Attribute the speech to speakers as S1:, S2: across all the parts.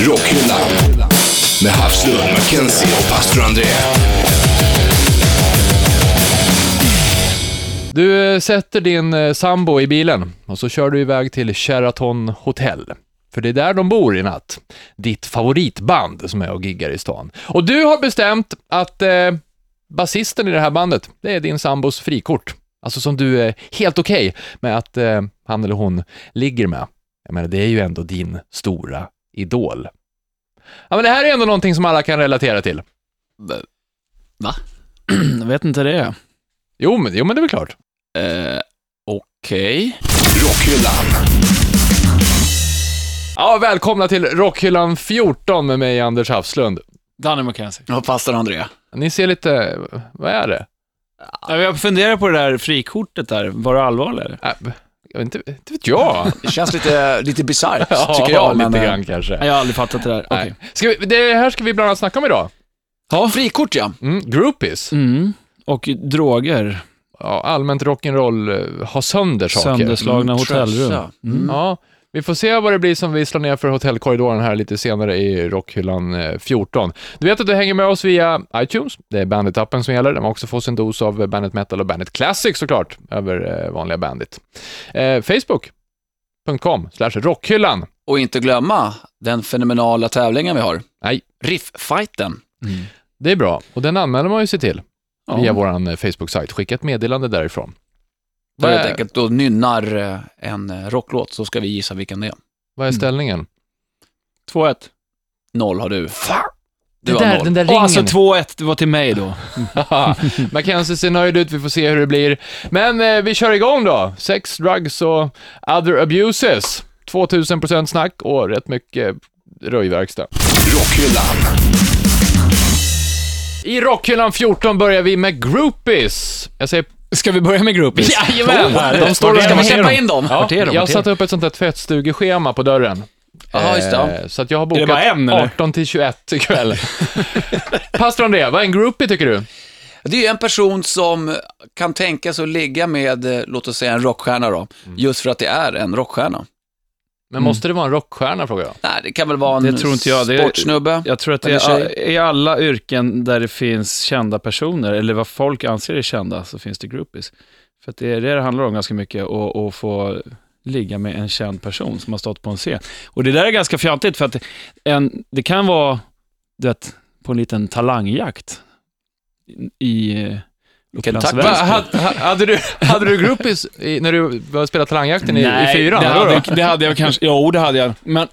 S1: Rockhyllan med Havslund, Mackenzie och pastor André.
S2: Du eh, sätter din eh, sambo i bilen och så kör du iväg till Sheraton Hotel. För det är där de bor i natt. Ditt favoritband som är och giggar i stan. Och du har bestämt att eh, basisten i det här bandet, det är din sambos frikort. Alltså som du är helt okej med att eh, han eller hon ligger med. Jag menar, det är ju ändå din stora idol. Ja, men det här är ändå någonting som alla kan relatera till.
S3: Jag vet inte det.
S2: Jo, men, jo, men det är väl klart.
S3: Eh, Okej.
S1: Rockhyllan,
S2: Ja, välkomna till Rockhyllan 14 med mig, Anders Hafslund.
S3: Danny McKenzie.
S4: Ja, pastor André.
S2: Ni ser lite, vad är det?
S3: Ja, Jag funderar på det där frikortet där. Var det allvarligt eller?
S2: Äh, jag vet inte, inte vet jag.
S4: Det känns lite, lite bisarrt,
S2: Ja,
S4: tycker jag.
S2: lite
S4: men, eh,
S2: grann kanske.
S3: Nej, Jag har aldrig fattat det där.
S2: Nej.
S3: Okej.
S2: Ska vi, det här ska vi bland annat snacka om idag.
S4: Ja, frikort ja.
S2: Mm, groupies.
S3: Mm. Och droger.
S2: Ja, allmänt rock'n'roll, eh, ha sönder saker.
S3: Sönderslagna
S4: Mm,
S3: hotellrum.
S4: trössa.
S3: Mm.
S2: Ja, vi får se vad det blir som vi slår ner för hotellkorridoren här lite senare i Rockhyllan eh, 14. Du vet att du hänger med oss via iTunes, det är Bandit-appen som gäller, där man också får sin dos av eh, Bandit Metal och Bandit Classic såklart, över eh, vanliga Bandit. Eh, Facebook.com slash rockhyllan.
S4: Och inte glömma den fenomenala tävlingen vi har.
S2: Nej.
S4: Riff-fighten.
S2: Det är bra, och den anmäler man ju sig till
S3: Ja.
S2: via vår eh, Facebook-sajt. Skicka ett meddelande därifrån.
S4: Där
S2: Vad
S4: helt
S2: är,
S4: enkelt då nynnar eh, en eh, rocklåt, så ska vi gissa vilken det är.
S2: vad är ställningen?
S3: 2-1.
S4: Noll har du. Fan! Du
S2: Det
S4: har
S2: där,
S4: noll.
S2: den där
S3: Åh,
S2: ringen.
S3: alltså 2-1, det var till mig då.
S2: Haha, Mackenzie ser nöjd ut, vi får se hur det blir. Men eh, vi kör igång då. Sex, drugs och other abuses. 2000% snack och rätt mycket röjverkstad.
S1: Rockhyllan,
S2: I Rockhyllan 14 börjar vi med groupies. Jag säger
S3: Ska vi börja med groupies?
S2: Jajamän!
S3: De står
S4: Då
S3: och
S4: ska man släppa in dem.
S2: Ja,
S3: Martero,
S2: jag
S3: Martero.
S2: satte upp ett sånt där tvättstugeschema på dörren.
S4: Jaha, just det, ja.
S2: Eh, Så att jag har
S3: det
S2: bokat
S3: bara en, eller?
S2: 18 till 21 ikväll. Pastor André, vad är en groupie tycker du?
S4: Det är ju en person som kan tänka sig att ligga med, eh, låt oss säga en rockstjärna då,
S3: Mm.
S4: just för att det är en rockstjärna.
S2: Men måste det vara en rockstjärna frågar jag?
S4: Nej, det kan väl vara en
S3: Det tror inte jag. Det är-
S4: sportsnubbe.
S3: Jag tror att det
S4: Eller
S3: är i alla yrken där det finns kända personer, eller vad folk anser är kända, så finns det groupies. För att det är det det handlar om ganska mycket, att att få ligga med en känd person som har stått på en scen. Och det där är ganska fjantigt, för att en, det kan vara, du vet, på en liten talangjakt i eh,
S4: Vilken
S3: Upplands
S4: tack-
S2: Va,
S3: Väsby.
S2: hade, hade, du, hade du groupies i, när du började spela Talangjakten i, i fyran?
S3: det
S2: eller vadå?
S3: hade, det hade jag kanske. Jo, det hade jag. Men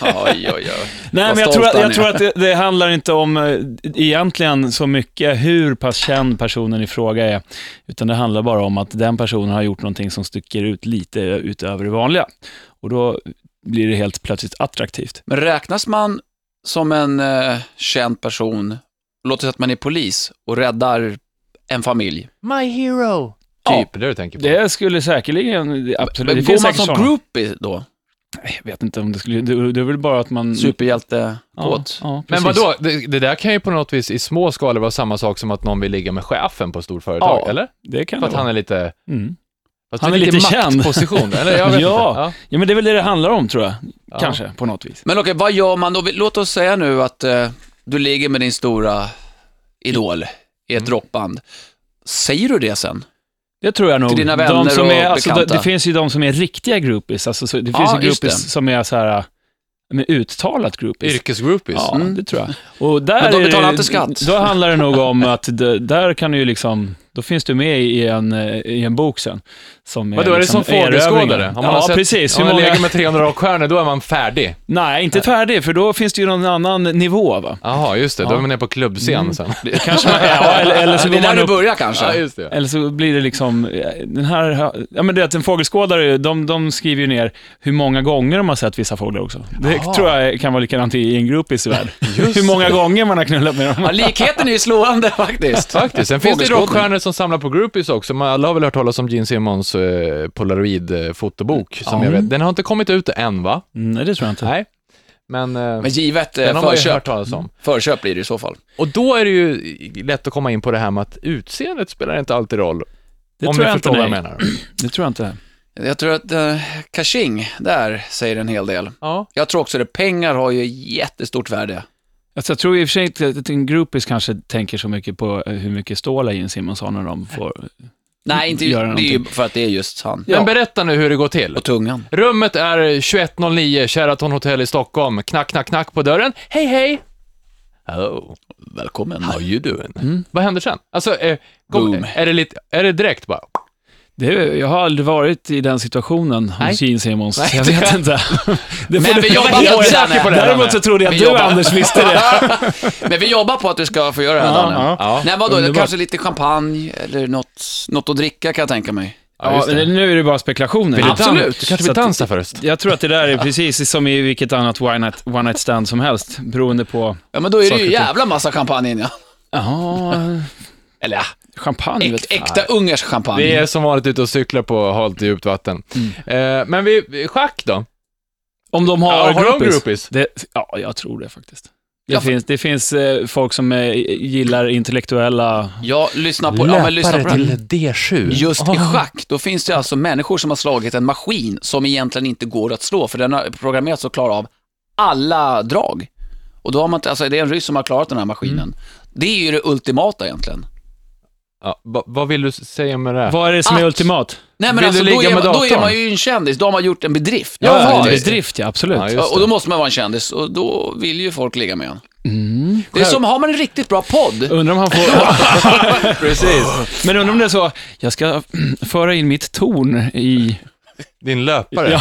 S4: Oj, oj, oj.
S3: Nej,
S4: Vad
S3: men jag
S4: stolt
S3: tror, att,
S4: han
S3: jag
S4: är.
S3: tror att det, det handlar inte om eh, egentligen så mycket hur pass känd personen i fråga är, utan det handlar bara om att den personen har gjort någonting som sticker ut lite utöver det vanliga. Och då blir det helt plötsligt attraktivt.
S4: Men räknas man som en eh, känd person, låt oss säga att man är polis och räddar en familj.
S2: My hero.
S4: Ja.
S2: Typ, det är det du tänker på.
S3: Det skulle säkerligen, det- absolut,
S4: Men
S3: det
S4: går
S3: finns
S4: man
S3: säkert
S4: som
S3: sådana.
S4: groupie då?
S3: Nej, Jag vet inte om det skulle, det, det är väl bara att man...
S4: Superhjälte
S3: ja,
S4: ja.
S3: Mm. ja,
S2: Men
S3: precis.
S2: vadå, det, det där kan ju på något vis i små skalor vara samma sak som att någon vill ligga med chefen på ett stort företag,
S3: Ja.
S2: eller?
S3: Det kan
S2: För
S3: det
S2: att han
S3: vara.
S2: är lite...
S3: Mm.
S2: Fast
S3: Han
S2: det
S3: är lite känd.
S2: maktposition, eller? Jag vet
S3: Ja.
S2: Inte.
S3: Ja, men det är väl det det handlar om, tror jag.
S2: Ja.
S3: Kanske, på något vis.
S4: Men okej, vad gör man då? Låt oss säga nu att eh, du ligger med din stora idol i ett
S3: Mm.
S4: rockband. Säger du det sen?
S3: Det tror jag nog.
S4: Till dina vänner
S3: de som
S4: och
S3: är, alltså, det,
S4: bekanta.
S3: det finns ju de som är riktiga groupies. Alltså, så, det finns
S4: Ja,
S3: ju
S4: just
S3: groupies
S4: det.
S3: som är så här, äh, med uttalat groupies.
S2: Yrkesgroupies.
S3: Ja,
S4: Mm.
S3: det tror jag. Och där
S4: Men de
S3: är det-
S4: betalar inte skatt.
S3: Då handlar det nog om att det, där kan du ju liksom, då finns du med i en, eh, i en bok sen. Som
S2: Vadå, är det
S3: liksom
S2: som fågelskådare?
S3: erövringen.
S2: Om man har
S3: Ja,
S2: sett-
S3: precis.
S2: Om
S3: Hur
S2: man
S3: många...
S2: lägger med 300 rockstjärnor, då är man färdig.
S3: Nej, inte färdig, för då finns det ju någon annan nivå. Va?
S2: Jaha, just det. Då är man nere på klubbscen sen.
S3: Kanske man, ja, eller, eller så
S4: det
S3: går
S4: är
S3: Mm.
S4: där
S3: man
S4: du
S3: upp
S4: börjar kanske.
S2: Ja, just det.
S3: Eller så blir det liksom, eh, den här, ja men det är att en fågelskådare, de, de skriver ju ner hur många gånger de har sett vissa fåglar också. Det
S2: Aha.
S3: tror jag kan vara likadant i en grupp i Sverige. hur många gånger man har knullat med dem.
S4: Ja, likheten är ju slående faktiskt.
S2: Faktiskt. Sen finns det ju
S4: Fågelskådning.
S2: rockstjärnor som samlar på groupies också. Man, alla har väl hört talas om Gene Simmons eh, polaroid-fotobok, som
S3: Ja.
S2: jag vet. Den har inte kommit ut än, va?
S3: Nej, det tror jag inte.
S2: Nej. Men, eh,
S4: Men givet eh,
S2: den har man ju
S4: förköp.
S2: hört talas om.
S4: Förköp blir det i så fall.
S2: Och då är det ju lätt att komma in på det här med att utseendet spelar inte alltid roll.
S3: Det
S2: om
S3: tror
S2: ni
S3: jag
S2: förstår
S3: inte,
S2: vad jag
S3: nej.
S2: menar.
S3: Det tror jag inte.
S4: Jag tror att eh, Kaching, där säger en hel del.
S2: Ja.
S4: Jag tror också det, pengar har ju jättestort värde.
S3: Alltså, jag tror i och för sig inte att en groupies kanske tänker så mycket på eh, hur mycket stålar Gene Simmons har när de får...
S4: Nej, inte,
S3: Göra
S4: det är ju
S3: någonting.
S4: för att det är just han.
S2: Men berätta nu hur det går till.
S4: Och tungan.
S2: Rummet är 2109 Sheraton Hotel i Stockholm. Knack, knack, knack på dörren. Hej, hej! Hello,
S4: Välkommen.
S2: how you doing? Vad händer sen? Alltså, eh, kom,
S4: Boom.
S2: är, det lite, är det direkt bara?
S3: Det är, jag har aldrig varit i den situationen hos Gene Simmons.
S2: Nej,
S3: jag
S2: det-
S3: vet inte. Det
S4: Men
S3: får
S4: vi
S3: du- jag
S4: jobbar
S3: är
S4: på det,
S3: säker på det.
S4: Danne.
S3: Däremot så trodde jag
S4: Vi
S3: att du,
S4: jobbar.
S3: Anders, visste det.
S4: Men vi jobbar på att du ska få göra det här,
S3: Ja,
S4: Danne.
S3: ja.
S4: Nej, vadå?
S3: Underbart.
S4: Kanske lite champagne eller något, något att dricka kan jag tänka mig.
S3: Ja, men nu är det bara spekulationer.
S4: du dansa? Absolut.
S2: Du kanske vill
S3: Så att-
S2: dansa först?
S3: Jag tror att det där är precis som i vilket annat one night, one night stand som helst, beroende på...
S4: Ja, men då är det
S3: Saker
S4: ju
S3: och ting.
S4: jävla massa champagne in, ja.
S3: Jaha,
S4: Eller ja,
S3: champagne
S4: äk,
S3: vet fan.
S4: äkta ungersk champagne.
S2: Vi är som vanligt ute och cyklar på halt och djupt vatten.
S3: Mm.
S2: Eh, men vi, schack då?
S3: Om de har,
S2: Ja, har de
S3: groupies?
S2: groupies?
S3: Det, ja, jag tror det faktiskt. Det,
S4: Ja, för-
S3: finns, det finns eh, folk som eh, gillar intellektuella...
S4: Ja, lyssna på, ja, men lyssna på det här.
S2: D7.
S4: Just i
S2: Ah.
S4: schack, då finns det alltså människor som har slagit en maskin som egentligen inte går att slå, för den har programmerats att klara av alla drag. Och då har man, inte- alltså det är en ryss som har klarat den här maskinen.
S2: Mm.
S4: Det är ju det ultimata egentligen.
S2: Ja, va, vad vill du säga med det här?
S3: Vad är det som är
S4: Ah.
S3: ultimat?
S4: Nej men
S2: Vill
S4: alltså,
S2: du
S4: då
S2: ligga
S4: är,
S2: med
S4: man, då är
S2: datorn?
S4: man ju en kändis, då har man gjort en bedrift.
S2: Ja,
S4: Då har man
S3: en
S2: det-
S3: bedrift, ja, absolut.
S2: Ja,
S4: Ja,
S2: just
S4: och då
S2: det.
S4: måste man vara en kändis och då vill ju folk ligga med en.
S2: Mm.
S4: Det är som, har man en riktigt bra podd,
S3: Undrar om han får...
S2: Precis.
S3: Men undrar om det är så, jag ska föra in mitt torn i...
S2: Din löpare.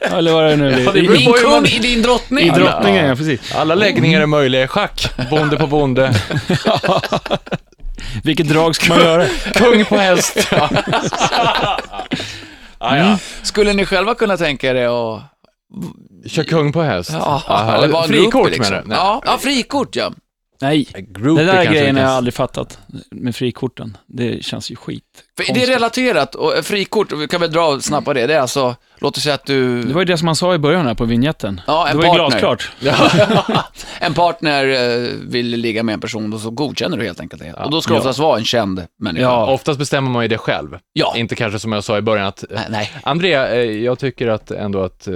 S3: Eller vad är det nu
S2: Ja, det beror
S3: I-
S4: din
S2: på hur man-
S4: kung i din drottning.
S3: I drottningen, ja precis.
S2: Alla läggningar är möjliga i schack. Bonde på bonde.
S3: Vilket drag ska man göra?
S2: Kung på häst. ah,
S3: Mm.
S2: ja.
S4: Skulle ni själva kunna tänka er det och...
S2: Kör kung på häst.
S4: Ja,
S2: Aha,
S4: eller vara en
S2: Frikort
S4: groupie, liksom.
S2: menar du? Nej.
S4: Ja, ja, frikort ja.
S3: Nej,
S2: Groupie
S3: det där
S2: kanske
S3: grejen
S2: det
S3: har jag
S2: kallas.
S3: aldrig fattat, med frikorten. Det känns ju skit.
S4: För det är
S3: Konstigt.
S4: relaterat, och eh, frikort, och vi kan väl dra snabbt på det, det är alltså, låt oss säga att du...
S3: Det var ju det som han sa i början här på vignetten.
S4: Ja, en
S3: det var ju
S4: partner.
S3: glasklart.
S4: En partner eh, vill ligga med en person och så godkänner du helt enkelt det. Och då ska det
S3: Ja.
S4: oftast vara en känd människa.
S3: Ja.
S2: Oftast bestämmer man ju det själv.
S4: Ja.
S2: Inte kanske som jag sa i början att...
S4: Nej, Nej.
S2: Andrea, eh, jag tycker att ändå att... eh,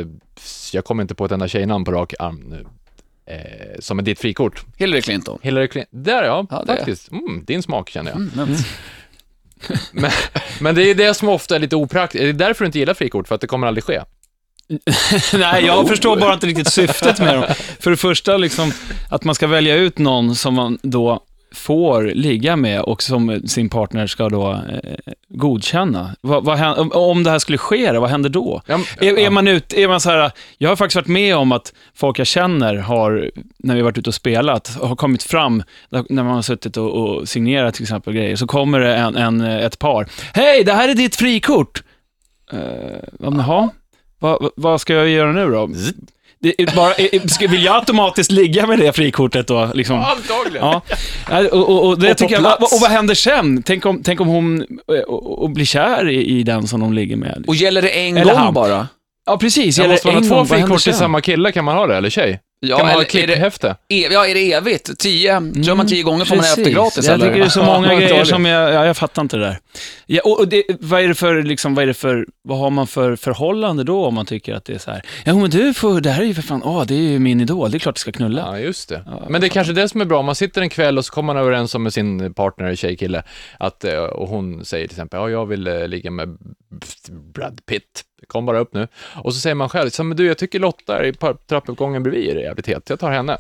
S2: Jag kommer inte på ett enda tjejnamn på rak arm nu. Eh, som är ditt frikort.
S4: Hillary Clinton.
S2: Hillary Clinton. Där ja,
S4: Ja, det är-
S2: faktiskt. Mm, din smak känner jag.
S4: Men,
S3: Mm.
S2: Men, men det är det som ofta är lite opraktiskt. Det är därför du inte gillar frikort, för att det kommer aldrig ske.
S3: Nej, jag förstår bara inte riktigt syftet med dem. För det första, liksom, att man ska välja ut någon som man då får ligga med och som sin partner ska då eh, godkänna. Vad, vad hän- om- om det här skulle ske, då, vad händer då?
S2: Ja, men-
S3: Är, är man ut, är man så här, jag har faktiskt varit med om att folk jag känner har, när vi har varit ute och spelat, har kommit fram, när man har suttit och, och signerat till exempel grejer, så kommer det en, en, ett par. Hej, det här är ditt frikort! Uh, jaha, vad vad- vad ska jag göra nu då? Det är bara, är- är- ska- vill jag automatiskt ligga med det frikortet då? Liksom?
S2: Antagligen.
S3: Ja. Nej, Och, och, och, det
S4: Och på
S3: tycker jag, och,
S4: plats.
S3: och vad händer sen? Tänk om, tänk om hon eh, och, och blir kär i, i den som de ligger med?
S4: och gäller det en
S3: Eller
S4: gång
S3: han.
S4: bara?
S3: Ja, precis.
S2: Jag
S3: Eller
S2: måste man
S3: en
S2: ha två
S3: gång, vad händer
S2: frikort till
S3: sen?
S2: samma kille? Kan man ha det, eller tjej?
S4: Ja,
S2: kan man ha ett
S4: eller är det,
S2: klipphäfte?
S4: ev, ja, är det evigt? Tio, kör man tio gånger får man
S3: Precis.
S4: efter gratis
S3: Jag
S4: eller?
S3: tycker det är så många grejer
S2: Antagligen.
S3: som jag, ja, jag fattar inte det där. Ja, och och det, vad är det för, liksom, vad är det för, vad har man för förhållande då om man tycker att det är så här, ja men du får, det här är ju för fan, åh det är ju min idol, det är klart du ska knulla.
S2: Ja, just det. Men det är kanske det som är bra, om man sitter en kväll och så kommer man överens om med sin partner, tjej, kille, att, eh, och hon säger till exempel, ja, jag vill eh, ligga med Brad Pitt, kom bara upp nu. Och så säger man själv, så, men du, jag tycker Lotta är i par- trappuppgången bredvid är jävligt het, jag tar henne.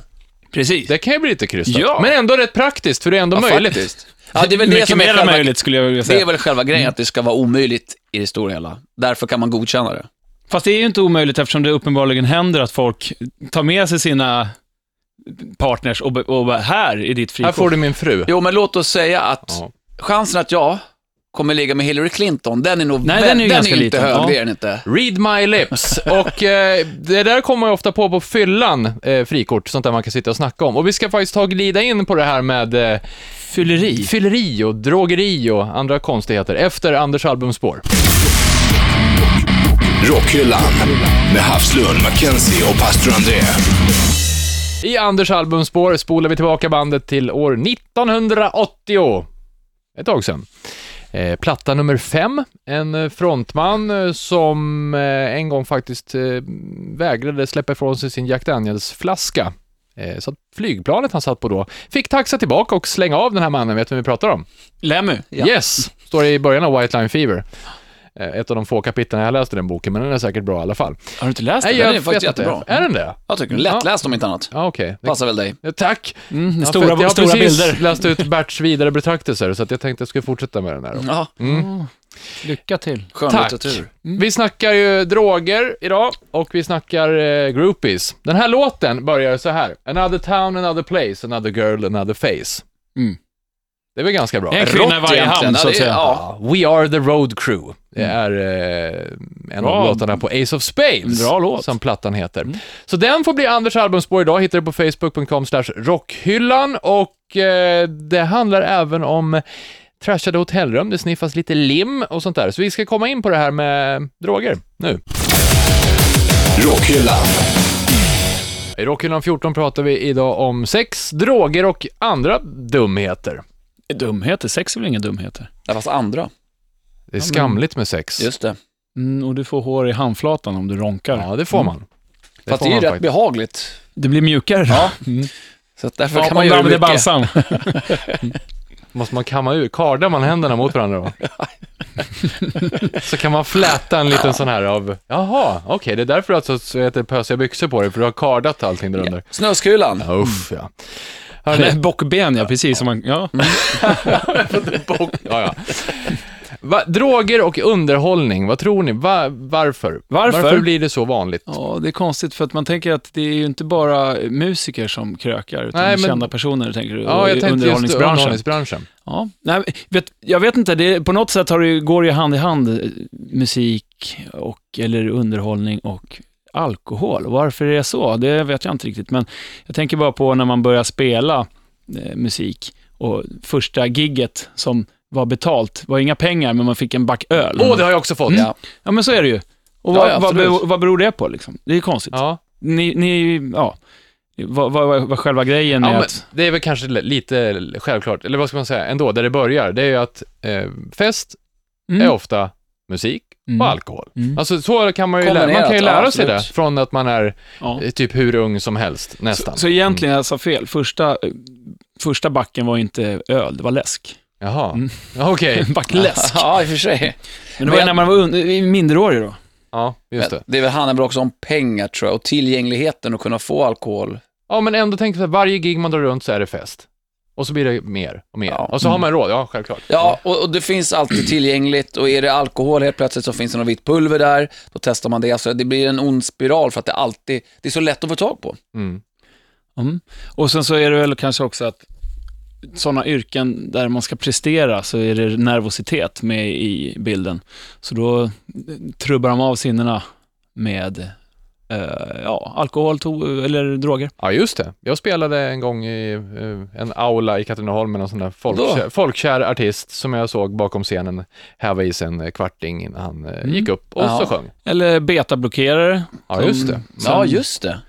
S3: Precis.
S2: Det kan ju bli lite krystat,
S3: Ja.
S2: men ändå rätt praktiskt, för det är ändå
S4: Ja,
S2: möjligt.
S4: faktiskt. Ja, det är väl det
S3: Mycket
S4: som är
S3: mer
S4: själva,
S3: möjligt skulle jag vilja
S4: Det är
S3: säga.
S4: väl själva grejen, att det ska vara omöjligt i det stora hela. Därför kan man godkänna det.
S3: Fast det är ju inte omöjligt eftersom det uppenbarligen händer att folk tar med sig sina partners och, be- och bara, här är ditt
S2: Här
S3: frikort.
S2: får du min fru.
S4: Jo, men låt oss säga att
S2: Ja.
S4: chansen att jag kommer ligga med Hillary Clinton, den är nog
S3: Nej,
S4: vä-
S3: den är ju ganska
S4: inte
S3: liten,
S4: hög,
S3: ja.
S4: det är den inte.
S2: Read my lips. Och eh, det där kommer jag ofta på på fyllan, eh, frikort, sånt där man kan sitta och snacka om. Och vi ska faktiskt ta och glida in på det här med eh,
S3: Fylleri.
S2: Fylleri och drogeri och andra konstigheter efter Anders albumspår.
S1: Rockhyllan med Havslund, Mackenzie och pastor André.
S2: I Anders albumspår spolar vi tillbaka bandet till år 1980. Ett tag sedan. Eh, platta nummer fem, en eh, frontman eh, som eh, en gång faktiskt eh, vägrade släppa ifrån sig sin Jack Daniels-flaska. Eh, så att flygplanet han satt på då fick taxa tillbaka och slänga av den här mannen, vet du vem vi pratar om?
S3: Lemmy.
S4: Ja.
S2: Yes! Står det i början av White Line Fever. Eh, Ett av de få kapitlen jag läste i den boken, men den är säkert bra i alla fall.
S3: Har du inte läst
S2: Nej,
S3: den?
S4: jag-
S3: Eller?
S4: är faktiskt
S2: vet inte.
S4: jättebra.
S2: Är den det?
S4: Jag tycker den är lättläst om inte annat.
S2: Ja, okej.
S4: Passar väl dig.
S2: Ja, Tack!
S3: Mm,
S2: Ja,
S3: stora,
S2: för att jag har
S3: stora
S2: precis
S3: bilder.
S2: läst ut Berts vidare betraktelser, så att jag tänkte att jag skulle fortsätta med den här. då.
S4: Ja,
S3: Lycka till.
S2: Tack! Mm.
S4: skönlitteratur.
S2: Vi snackar ju droger idag och vi snackar eh, groupies. Den här låten börjar så här. Another town, another place, another girl, another face.
S3: Mm.
S2: Det är väl ganska bra?
S3: En kvinna i varje hamn,
S4: egentligen.
S3: så att
S4: Ja, det
S3: säga.
S4: är- ja.
S2: Ja, We Are The Road Crew. Det är eh, en av
S3: Bra.
S2: låtarna på Ace of Spades.
S3: Bra låt.
S2: Som plattan heter. Så den får bli Anders albumspår idag. Hittar du på facebook.com slash rockhyllan. Och eh, det handlar även om trashade hotellrum, det sniffas lite lim och sånt där. Så vi ska komma in på det här med droger nu.
S1: Rockhyllan.
S2: I Rockhyllan 14 pratar vi idag om sex, droger och andra dumheter.
S3: Dumheter, sex är väl inga dumheter?
S4: Det fanns andra.
S2: Det är skamligt med sex.
S4: Just det.
S3: Mm, och du får hår i handflatan om du ronkar. Mm.
S2: Ja, det får man. Det
S4: Fast
S2: får
S4: det är ju
S2: man
S4: rätt
S2: faktiskt.
S4: behagligt.
S3: Det blir mjukare.
S4: Ja.
S3: Mm.
S4: Så att därför
S3: Om
S4: kan man
S3: du
S4: göra
S3: använder
S4: mycket.
S3: balsam.
S2: Måste man kamma ur, kardar man händerna mot varandra då? så kan man fläta en liten sån här av, jaha, okej, det är därför du alltså så heter det pösiga byxor på dig, för du har kardat allting där under.
S4: Snöskulan.
S2: Ja. Uff, ja.
S3: Nej,
S2: Hörrni,
S3: bockben ja, precis. Som man, ja.
S2: ja, ja. Va, droger och underhållning, vad tror ni? Va, varför?
S3: Varför?
S2: Varför blir det så vanligt?
S3: ja, det är konstigt för att man tänker att det är ju inte bara musiker som krökar, utan
S2: Nej, men-
S3: kända personer, tänker du,
S2: Ja,
S3: och
S2: jag
S3: i
S2: tänkte just
S3: underhållningsbranschen.
S2: underhållningsbranschen.
S3: Ja. Nej, men vet, jag vet inte, det, är- på något sätt har det, ju- går det ju hand i hand, eh, musik och, eller underhållning och alkohol. Varför det är så, det vet jag inte riktigt, men jag tänker bara på när man börjar spela eh, musik och första gigget som var betalt, var inga pengar, men man fick en back öl. Mm.
S2: Åh, det har jag också fått.
S4: Ja.
S3: Ja, men så är det ju. Och vad,
S4: Ja, ja,
S3: vad,
S4: absolut.
S3: beror, vad beror det på liksom? Det är ju konstigt.
S2: ja.
S3: Ni, ni, ja. Vad, vad, vad- vad själva grejen
S2: Ja,
S3: är
S2: men
S3: att...
S2: det är väl kanske li- lite självklart, eller vad ska man säga, ändå, där det börjar, det är ju att eh, fest
S3: Mm.
S2: är ofta musik
S3: Mm.
S2: och alkohol.
S3: Mm.
S2: Alltså så kan man ju lära, man
S4: Kombinerat,
S2: kan ju
S4: ja,
S2: lära sig det
S4: absolut.
S2: från att man är
S3: Ja.
S2: eh, typ hur ung som helst, nästan.
S3: Så, så egentligen, jag sa fel. Första, första backen var inte öl, det var läsk.
S2: Jaha,
S3: Mm.
S2: Ja, okej.
S3: Backläsk.
S4: Ja, i och för sig.
S3: Men det var ju
S4: Men-
S3: när man var un- minderårig då.
S2: Ja, just
S4: Men
S2: det.
S4: det är väl handlar väl också om pengar tror jag och tillgängligheten att kunna få alkohol.
S2: Ja, men ändå tänk så här, varje gig man drar runt så är det fest. Och så blir det mer och mer.
S4: Ja.
S2: Och
S3: Mm.
S2: så har man råd, ja självklart.
S4: Ja, och, och det finns alltid tillgängligt och är det alkohol helt plötsligt så finns det något vitt pulver där. Då testar man det. Så det blir en ond spiral för att det alltid, det är så lätt att få tag på.
S2: Mm.
S3: Mm. Och sen så är det väl kanske också att sådana yrken där man ska prestera så är det nervositet med i bilden. Så då trubbar de av sinnena med eh, ja, alkohol to- eller droger.
S2: Ja, just det. Jag spelade en gång i eh, en aula i Katrineholm med någon sån där folkkär,
S4: Då?
S2: folkkär artist som jag såg bakom scenen häva i sig en kvarting innan han eh,
S3: Mm.
S2: gick upp och så
S4: Ja.
S2: sjöng.
S3: Eller betablockerare.
S2: Ja, just
S3: Mm.
S2: det.
S4: Ja, just det.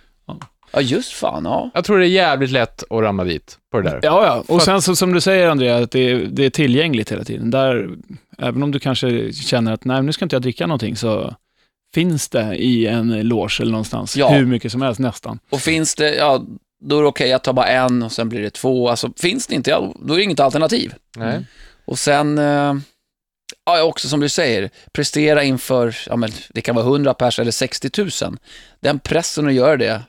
S4: Ja, just fan. Ja.
S2: Jag tror det är jävligt lätt att ramla dit på det där.
S3: Ja, ja. Och sen så, som du säger Andrea, att det, är- det är tillgängligt hela tiden. Där, även om du kanske känner att nej, nu ska inte jag dricka någonting, så finns det i en loge eller någonstans
S4: Ja.
S3: hur mycket som helst nästan.
S4: Och finns det, ja, då är det okej, jag tar bara en och sen blir det två. Alltså finns det inte, ja, då är det inget alternativ.
S2: Nej.
S4: Och sen, eh, ja också som du säger, prestera inför, ja men det kan vara 100 pers eller 60 000. Den pressen att göra det,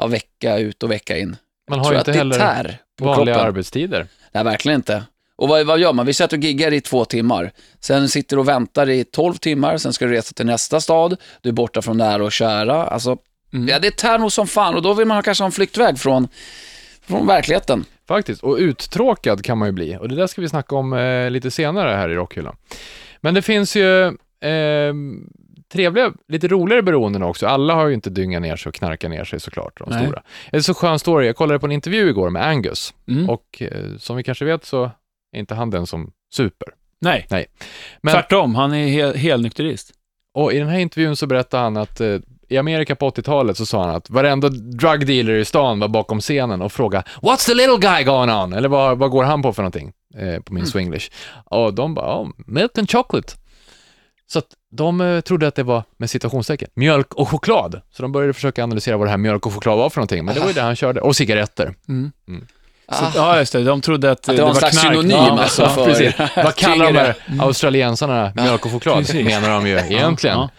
S4: ja, vecka ut och vecka in.
S2: Man har
S4: tror
S2: ju
S4: jag att
S2: inte
S4: det
S2: heller
S4: tär på
S2: vanliga
S4: kroppen.
S2: arbetstider.
S4: Nej, verkligen inte. Och vad, vad gör man? Vi sätter och giggar i två timmar. Sen sitter du och väntar i 12 timmar, sen ska du resa till nästa stad, du är borta från nära och kära. Alltså,
S3: Mm.
S4: ja, det tär nog som fan och då vill man kanske ha en flyktväg från, från verkligheten.
S2: Faktiskt, och uttråkad kan man ju bli. Och det där ska vi snacka om eh, lite senare här i Rockhyllan. Men det finns ju eh, trevliga, lite roligare beroenden också. Alla har ju inte dyngat ner sig och knarkat ner sig såklart, de
S3: Nej.
S2: stora. En så skön story, jag kollade på en intervju igår med Angus
S3: Mm.
S2: och eh, som vi kanske vet så är inte han den som super.
S3: Nej,
S2: Men-
S3: tvärtom. Han är he- helnykterist.
S2: Och i den här intervjun så berättade han att eh, i Amerika på 80-talet så sa han att varenda drug dealer i stan var bakom scenen och frågade “What's the little guy going on?” eller vad, vad går han på för någonting? eh, på min
S3: Mm.
S2: swinglish. Och de bara, oh, milk and chocolate. Så att de eh, trodde att det var, med citationstecken, mjölk och choklad. Så de började försöka analysera vad det här mjölk och choklad var för någonting, men det var ju det han körde. Och cigaretter.
S3: Så, ja, just det. De trodde att,
S4: Ah. Att det var en slags
S3: knark.
S4: synonym
S3: Ja,
S4: alltså
S3: ja,
S4: för
S3: precis.
S2: Vad kallar de
S4: tyngre.
S2: här australiensarna mjölk och choklad,
S3: Mm. precis.
S2: menar de ju egentligen.
S3: Ja.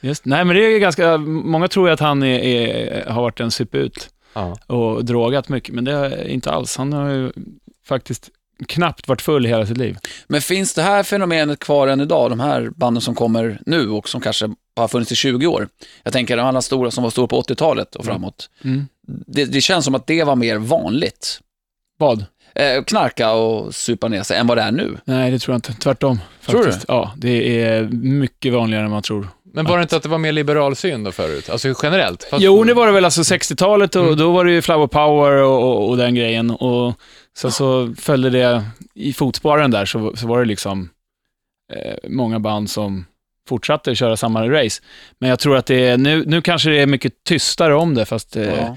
S3: Just, nej, men det är ju ganska... Många tror ju att han är, är, har varit en suput
S2: Ja.
S3: och drogat mycket, men det är inte alls. Han har ju faktiskt knappt varit full i hela sitt liv.
S4: Men finns det här fenomenet kvar än idag? De här banden som kommer nu och som kanske har funnits i 20 år. Jag tänker de alla stora som var stora på 80-talet och framåt.
S3: Mm.
S4: Det, det känns som att det var mer vanligt.
S3: Vad?
S4: Eh, knarka och supa ner sig än vad det är nu.
S3: Nej, det tror jag inte. Tvärtom.
S4: Tror du?
S3: Faktiskt. Ja, det är mycket vanligare än man tror.
S2: Men var det inte att det var mer liberal syn då förut? Alltså generellt? Fast-
S3: Jo, det var det väl alltså 60-talet och
S4: Mm.
S3: då var det ju Flower Power och, och, och den grejen. Och sen så följde det i fotspåren där så, så var det liksom eh, många band som fortsatte köra samma race. Men jag tror att det är, nu, nu kanske det är mycket tystare om det, fast eh,
S4: Ja.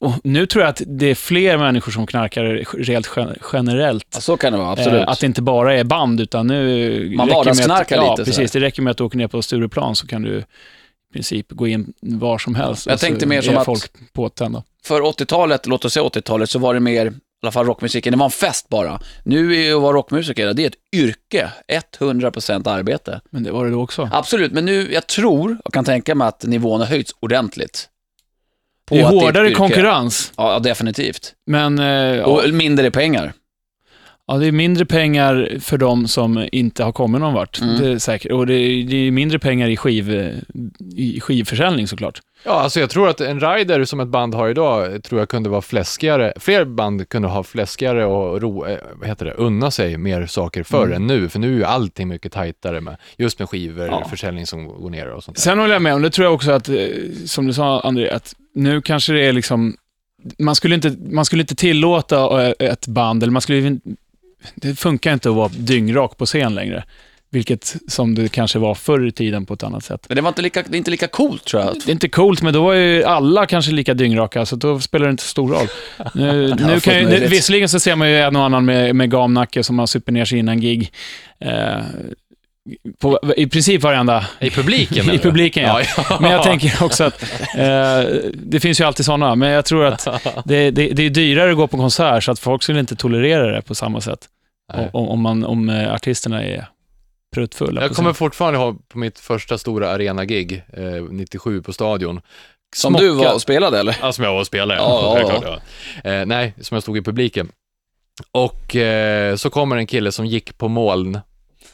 S3: och nu tror jag att det är fler människor som knarkar rent gen- generellt.
S4: Ja, så kan det vara, absolut.
S3: Eh, Att det inte bara är band, utan nu...
S4: Man
S3: räcker med att-
S4: vardagsknarkar
S3: ja,
S4: lite
S3: precis. Det räcker med att du åker ner på Stureplan så kan du i princip gå in var som helst.
S4: Jag
S3: och så
S4: tänkte mer
S3: är
S4: som att-
S3: folk påtända.
S4: För 80-talet, låt oss säga 80-talet, så var det mer, i alla fall rockmusiken, det var en fest bara. Nu är ju att vara rockmusiker, det är ett yrke. 100% arbete.
S3: Men det var det då också.
S4: Absolut, men nu, jag tror och kan tänka mig att nivån har höjts ordentligt. På
S3: Det är
S4: att ett
S3: hårdare
S4: yrke.
S3: konkurrens,
S4: Ja, ja, definitivt.
S3: men eh, ja,
S4: Och mindre pengar.
S3: ja, det är mindre pengar för de som inte har kommit någon vart.
S4: Mm.
S3: Det är säkert. Och det är, det är mindre pengar i, skiv, i skivförsäljning såklart.
S2: Ja, alltså jag tror att en rider som ett band har idag, tror jag kunde vara fläskigare. Fler band kunde ha fläskigare och ro, eh, vad heter det, unna sig mer saker förr
S3: Mm.
S2: än nu, för nu är ju allting mycket tajtare med, just med skivor, försäljning som går ner och sånt där.
S3: Sen håller jag med om, det tror jag också att, eh, som du sa André, att nu kanske det är liksom, man skulle inte, man skulle inte tillåta eh, ett band, eller man skulle, in- det funkar inte att vara dyngrak på scen längre. Vilket som det kanske var förr i tiden på ett annat sätt.
S4: Men det var inte lika, det är inte lika coolt tror jag.
S3: Det är inte coolt, men då var ju alla kanske lika dyngraka, så då spelar det inte så stor roll. Nu, nu
S4: fullt
S3: kan ju, nu,
S4: möjligt.
S3: visserligen så ser man ju en och annan med, med gamnacke som har super ner sig innan gig. Eh, på, I princip varenda
S2: I publiken
S3: i
S2: eller?
S3: publiken, ja.
S2: Ja, ja.
S3: Men jag tänker också att eh, det finns ju alltid sådana, men jag tror att det, det, det är dyrare att gå på konsert, så att folk skulle inte tolerera det på samma sätt
S2: Nej.
S3: om, om, man, om eh, artisterna är pruttfulla.
S2: Jag
S3: på
S2: kommer
S3: scen.
S2: fortfarande ha på mitt första stora arenagig, eh, 97 på Stadion.
S4: Som du var och spelade eller?
S2: Ja, som jag var och spelade.
S4: Ja, ja, ja.
S2: Självklart, ja. Eh, nej, som jag stod i publiken. Och eh, så kommer en kille som gick på moln.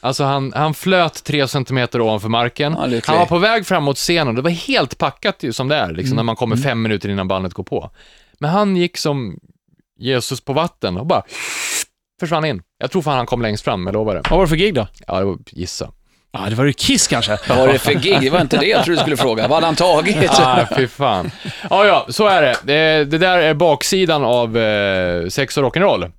S2: Alltså han, han flöt tre centimeter ovanför marken.
S4: Ja, lycklig.
S2: han var på väg fram mot scenen. Det var helt packat ju som det är, liksom, när man
S4: Mm.
S2: kommer fem minuter innan bandet går på. Men han gick som Jesus på vatten och bara försvann in. Jag tror fan han kom längst fram, jag lovar det.
S3: Vad var det för gig då?
S2: Ja, det var gissa.
S3: Ja, det var ju Kiss kanske.
S4: Vad var det för gig? Det var inte det jag trodde du skulle fråga. Vad hade han tagit?
S2: Ah, fy fan. Ja, ja, så är det. Det, det där är baksidan av eh, sex och rock'n'roll,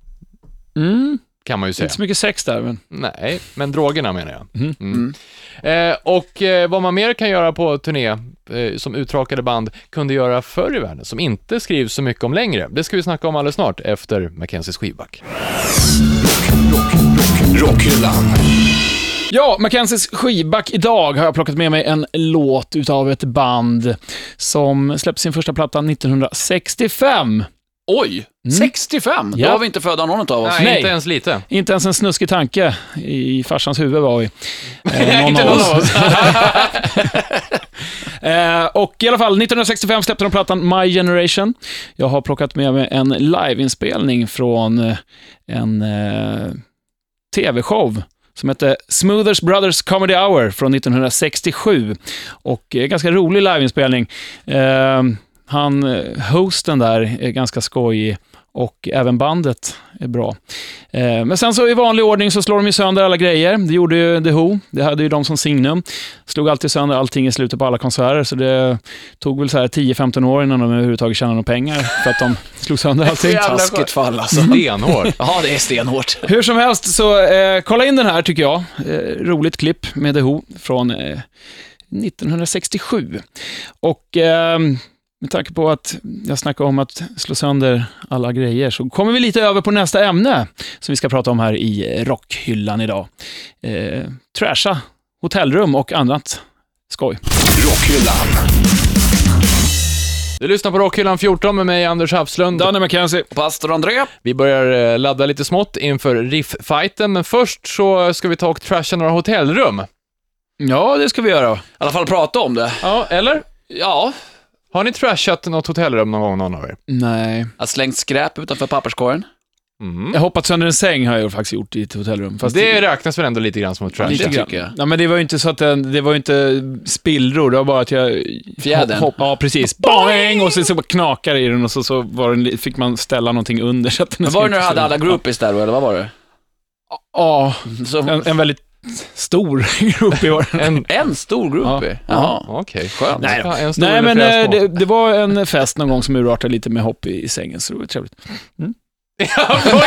S3: Mm,
S2: kan man ju säga.
S3: inte så mycket sex där, men
S2: Nej, men drogerna menar jag. Mm. Eh, och eh, vad man mer kan göra på turné, eh, som uttråkade band kunde göra förr i världen, som inte skrivs så mycket om längre, det ska vi snacka om alldeles snart efter Mackenzies skivback.
S1: Rockhyllan.
S3: Ja, Mackenzies skivback idag har jag plockat med mig en låt utav ett band som släppte sin första platta 1965.
S4: Oj, 65? Då
S3: Mm. Ja.
S4: var vi inte födda någon av oss.
S2: Nej,
S3: Nej.
S2: inte ens lite.
S3: Inte ens en snuskig tanke i farsans huvud var vi. Eh, någon av oss. Eh, och i alla fall, 1965 släppte de plattan My Generation. Jag har plockat med mig en liveinspelning från eh, en eh, tv-show som hette Smoothers Brothers Comedy Hour från 1967. Och eh, ganska rolig liveinspelning. Eh, han, eh, hosten där, är ganska skojig och även bandet är bra. Eh, Men sen så i vanlig ordning så slår de ju sönder alla grejer. Det gjorde ju The Who. Det hade ju de som signum. Slog alltid sönder allting i slutet på alla konserter, så det tog väl så här 10-15 år innan de överhuvudtaget tjänade några pengar för att de slog sönder allting.
S4: Taskigt fall alltså.
S2: Stenhårt.
S4: Ja, det är stenhårt.
S3: Hur som helst, så eh, kolla in den här tycker jag. Eh, roligt klipp med The Who från eh, 1967. Och ehm, med tanke på att jag snackade om att slå sönder alla grejer så kommer vi lite över på nästa ämne som vi ska prata om här i rockhyllan idag. Eh, trasha hotellrum och annat skoj.
S1: Rockhyllan.
S2: Du lyssnar på Rockhyllan 14 med mig, Anders Hafslund.
S3: Danny McKenzie.
S4: Pastor André,
S2: Vi börjar eh, ladda lite smått inför riff-fighten, men först så ska vi ta och trasha några hotellrum.
S3: Ja, det ska vi göra.
S4: i alla fall prata om det.
S2: Ja, eller?
S4: Ja,
S2: Har ni trashat något hotellrum någon gång, någon av er?
S3: Nej.
S4: jag har slängt skräp utanför papperskorgen.
S2: Mm.
S3: Jag hoppat sönder en säng har jag faktiskt gjort i ett hotellrum. Fast
S2: Det räknas väl ändå lite grann som att trasha?
S4: Lite
S3: Lite
S4: grann.
S3: grann. Ja, men det var ju inte så att den, det var ju inte spillror, det var bara att jag...
S4: Fjädern.
S3: Hopp, ja, precis. Boing! Och så, så bara knakade det i den och så, så var den, li- fick man ställa någonting under så att den
S4: Men var det när du hade alla groupies där då, eller vad var det?
S3: Ja,
S4: Så,
S3: en, en väldigt stor groupie var den.
S2: En...
S4: en stor groupie? Jaha.
S2: Okej.
S4: Skönt.
S2: Nej, då. En stor
S3: Nej,
S2: eller
S3: men
S2: flera
S3: eh,
S2: små.
S3: det, det var en fest någon gång som urartade lite med hopp i, i sängen, så det var trevligt.
S4: Ja, eh, ja,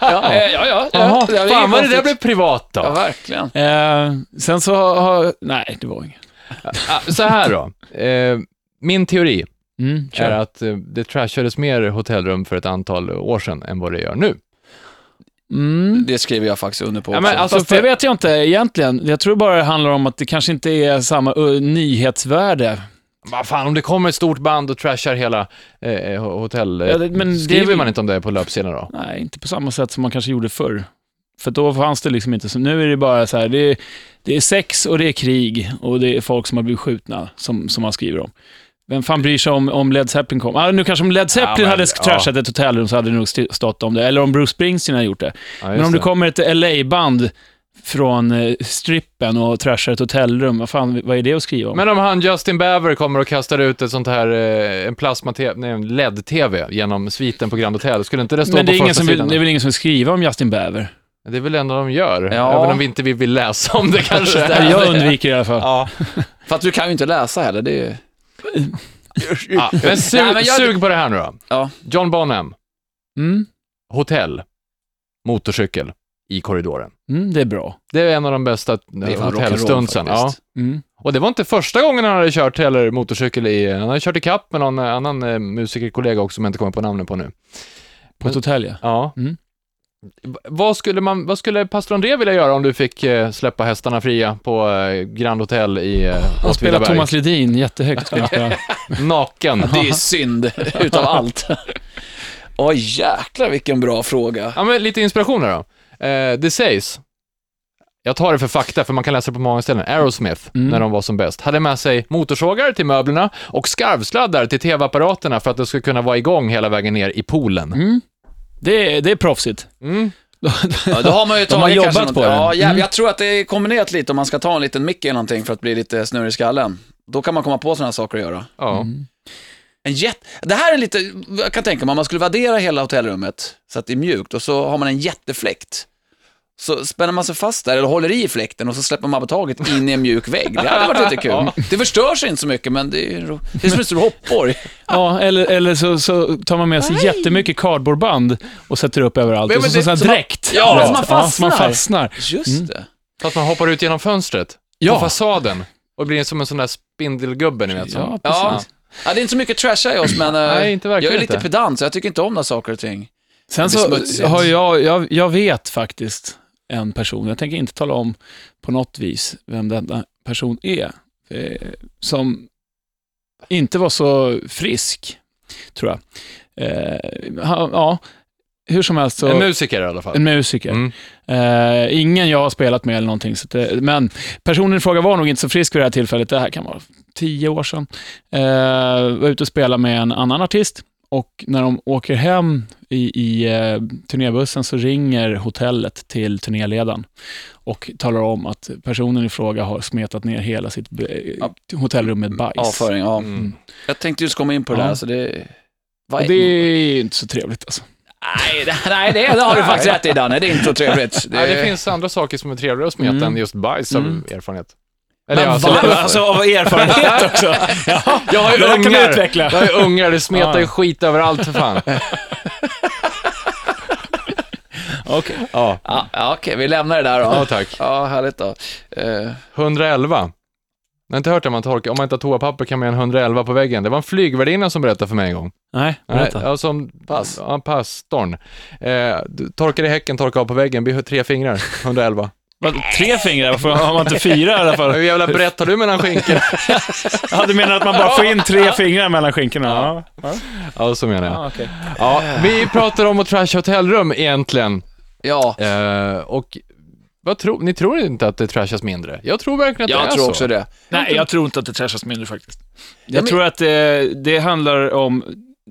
S4: ja.
S3: Jaha,
S4: ja, ja,
S2: Fan vad det där
S4: konstigt.
S2: blev privat då.
S4: Ja, verkligen.
S3: Eh, sen så har... Nej, det var inget.
S2: Ah, Så här då. Eh, min teori
S3: Mm,
S2: är
S3: kör.
S2: att eh, det trashades mer hotellrum för ett antal år sedan än vad det gör nu.
S3: Mm.
S4: Det skriver jag faktiskt under på
S2: Ja,
S4: också.
S2: men alltså,
S3: Fast
S2: för-
S3: det vet jag inte egentligen. Jag tror bara det handlar om att det kanske inte är samma ö, nyhetsvärde.
S2: Vad fan, om det kommer ett stort band och trashar hela eh, hotell...
S3: Ja, det- men det är
S2: skriver
S3: väl-
S2: man inte om det på löpsedeln då?
S3: Nej, inte på samma sätt som man kanske gjorde förr. För då fanns det liksom inte så. Nu är det bara så här, det är, det är sex och det är krig och det är folk som har blivit skjutna som, som man skriver om. Vem fan bryr sig om, om Led Zeppelin kom? Ah, nu kanske om Led Zeppelin
S2: men-
S3: hade
S2: ja.
S3: trashat ett hotellrum så hade det nog st- stått om det. Eller om Bruce Springsteen hade gjort det.
S2: Ja,
S3: Men
S2: just
S3: om det
S2: det.
S3: kommer ett LA-band från eh, strippen och trashar ett hotellrum, vad fan, vad är det att skriva om?
S2: Men om han Justin Bieber kommer och kastar ut ett sånt här, eh, en plasma-tv, nej, en LED-tv genom sviten på Grand Hotel, skulle inte det stå
S3: Men
S2: på
S3: det är, ingen
S2: första
S3: som vill,
S2: sidan?
S3: det är väl ingen som vill skriva om Justin Bieber?
S2: Det är väl ändå de gör,
S4: Ja.
S2: även om vi inte vill, vill läsa om det kanske.
S4: Där.
S3: Eller Jag undviker i alla fall.
S2: ja.
S4: För att du kan ju inte läsa heller. Det är...
S2: Ja, men, su-
S4: Nej, men jag-
S2: sug på det här nu då.
S4: Ja.
S2: John Bonham,
S3: Mm,
S2: hotell, motorcykel i korridoren.
S3: mm, det är bra.
S2: Det är en av de bästa eh,
S4: Det är fan
S2: hotellstunsen.
S4: rock'n'roll faktiskt.
S3: Mm.
S2: Och det var inte första gången han hade kört heller motorcykel i, han hade kört i kapp med någon annan eh, musikerkollega också som jag inte kommer på namnet på nu.
S3: På ett hotell, ja.
S2: Ja.
S3: Mm.
S2: V- Vad skulle, man, vad skulle pastor André vilja göra om du fick eh, släppa hästarna fria på eh, Grand Hotel i eh,
S3: Han spelar
S2: Åtvidaberg?
S3: Thomas Ledin jättehögt. skulle han spela.
S2: Naken.
S4: Det är ju synd utav allt. Åh jäklar vilken bra fråga.
S2: Ja, men lite inspiration här då. Eh, det sägs, jag tar det för fakta, för man kan läsa det på många ställen, Aerosmith,
S3: Mm.
S2: när de var som bäst, hade med sig motorsågar till möblerna och skarvsladdar till tv-apparaterna för att det skulle kunna vara igång hela vägen ner i poolen.
S3: Mm. Det, är, det är proffsigt.
S2: Mm.
S4: Ja, då har man ju
S3: De har
S4: tagit kanske
S3: jobbat på
S4: något-
S3: den.
S4: Ja, jävlar,
S3: Mm.
S4: Jag tror att det är kombinerat lite om man ska ta en liten mick eller någonting för att bli lite snurrig i skallen. Då kan man komma på sådana saker att göra.
S2: Ja.
S3: Mm.
S4: En jätt... Det här är lite, jag kan tänka mig, om man skulle vaddera hela hotellrummet så att det är mjukt och så har man en jättefläkt. Så spänner man sig fast där, eller håller i fläkten och så släpper man på taget in i en mjuk vägg. Det hade varit lite kul. Det förstör sig inte så mycket, men det är, ro- det är som en stor hoppborg.
S3: Ja, eller eller så, så tar man med sig jättemycket cardboardband och sätter upp överallt.
S2: Men-
S3: och
S2: men
S3: så, så,
S2: det-
S3: så här
S2: som man-
S3: dräkt.
S4: Ja,
S3: Rätt.
S4: som man
S3: Ja, som man
S4: fastnar.
S3: fastnar.
S4: Just det.
S2: Så att man hoppar ut genom fönstret, på
S3: Ja.
S2: fasaden, och blir som en sån där spindelgubbe, ni vet. Som.
S3: Ja,
S4: Ja.
S3: precis.
S4: ja, det är inte så mycket trasha i oss, men eh,
S2: Nej, inte verkligen
S4: jag är lite
S2: inte.
S4: pedant, så jag tycker inte om när saker och ting.
S3: Sen
S4: Det blir smutsigt.
S3: så har jag, jag, jag vet faktiskt en person, jag tänker inte tala om på något vis vem denna person är, eh, som inte var så frisk, tror jag. Eh, han- ja, hur som helst så...
S2: Alltså- En musiker i alla fall.
S3: en musiker.
S2: Mm.
S3: Eh, ingen jag har spelat med eller någonting. Så att det, men personen i fråga var nog inte så frisk vid det här tillfället. Det här kan vara tio år sedan. Eh, var ute och spelade med en annan artist och när de åker hem i, i eh, turnébussen så ringer hotellet till turnéledaren och talar om att personen i fråga har smetat ner hela sitt be- hotellrum med bajs.
S4: Avföring, ja.
S2: Mm.
S4: Jag tänkte just komma in på det
S3: Ja.
S4: där, så det... Vad
S3: och
S4: är-
S3: det är ju inte så trevligt alltså.
S4: Nej, det, nej, det, det har du faktiskt rätt i Danne, det är inte så trevligt.
S2: Det... Ja, det finns andra saker som är trevligare att smeta
S3: Mm.
S2: än just bajs
S3: Mm.
S2: av erfarenhet.
S4: Men
S2: alltså,
S4: varför?
S3: Alltså av erfarenhet också. Ja,
S2: Jag har ju
S3: det där kan
S2: ungar. Ah.
S3: du utveckla.
S2: Jag är ungar, det smetar ju
S3: Ja.
S2: skit överallt för fan.
S3: Okej.
S2: Ja,
S4: Ja, ja, okej, vi lämnar det där då.
S2: ja tack.
S4: Ja, härligt då. Eh,
S2: 111. Jag har inte hört om man torkar, om man inte har toapapper kan man göra en 111 på väggen. Det var en flygvärdinna som berättade för mig en gång.
S3: Nej,
S2: Nej,
S3: berätta.
S2: ja, som pass. Ja, pastorn. Eh, du torkar i häcken, torkar av på väggen, blir tre fingrar, 111.
S3: Vad, Tre fingrar? Varför har man inte fyra i alla fall?
S2: Hur jävla brett har du mellan skinkorna?
S3: Ja, du menar att man bara får in tre fingrar mellan skinkorna? Ja,
S2: Ja, så menar jag.
S3: ja okej.
S2: Ja, vi pratar om att trasha hotellrum egentligen.
S4: Ja,
S2: Eh, och vad tror, ni tror inte att det trashas mindre? Jag tror verkligen att det är
S4: jag tror
S2: så.
S4: också det.
S3: Nej, jag tror inte att det trashas mindre faktiskt. Jag tror att det, det handlar om,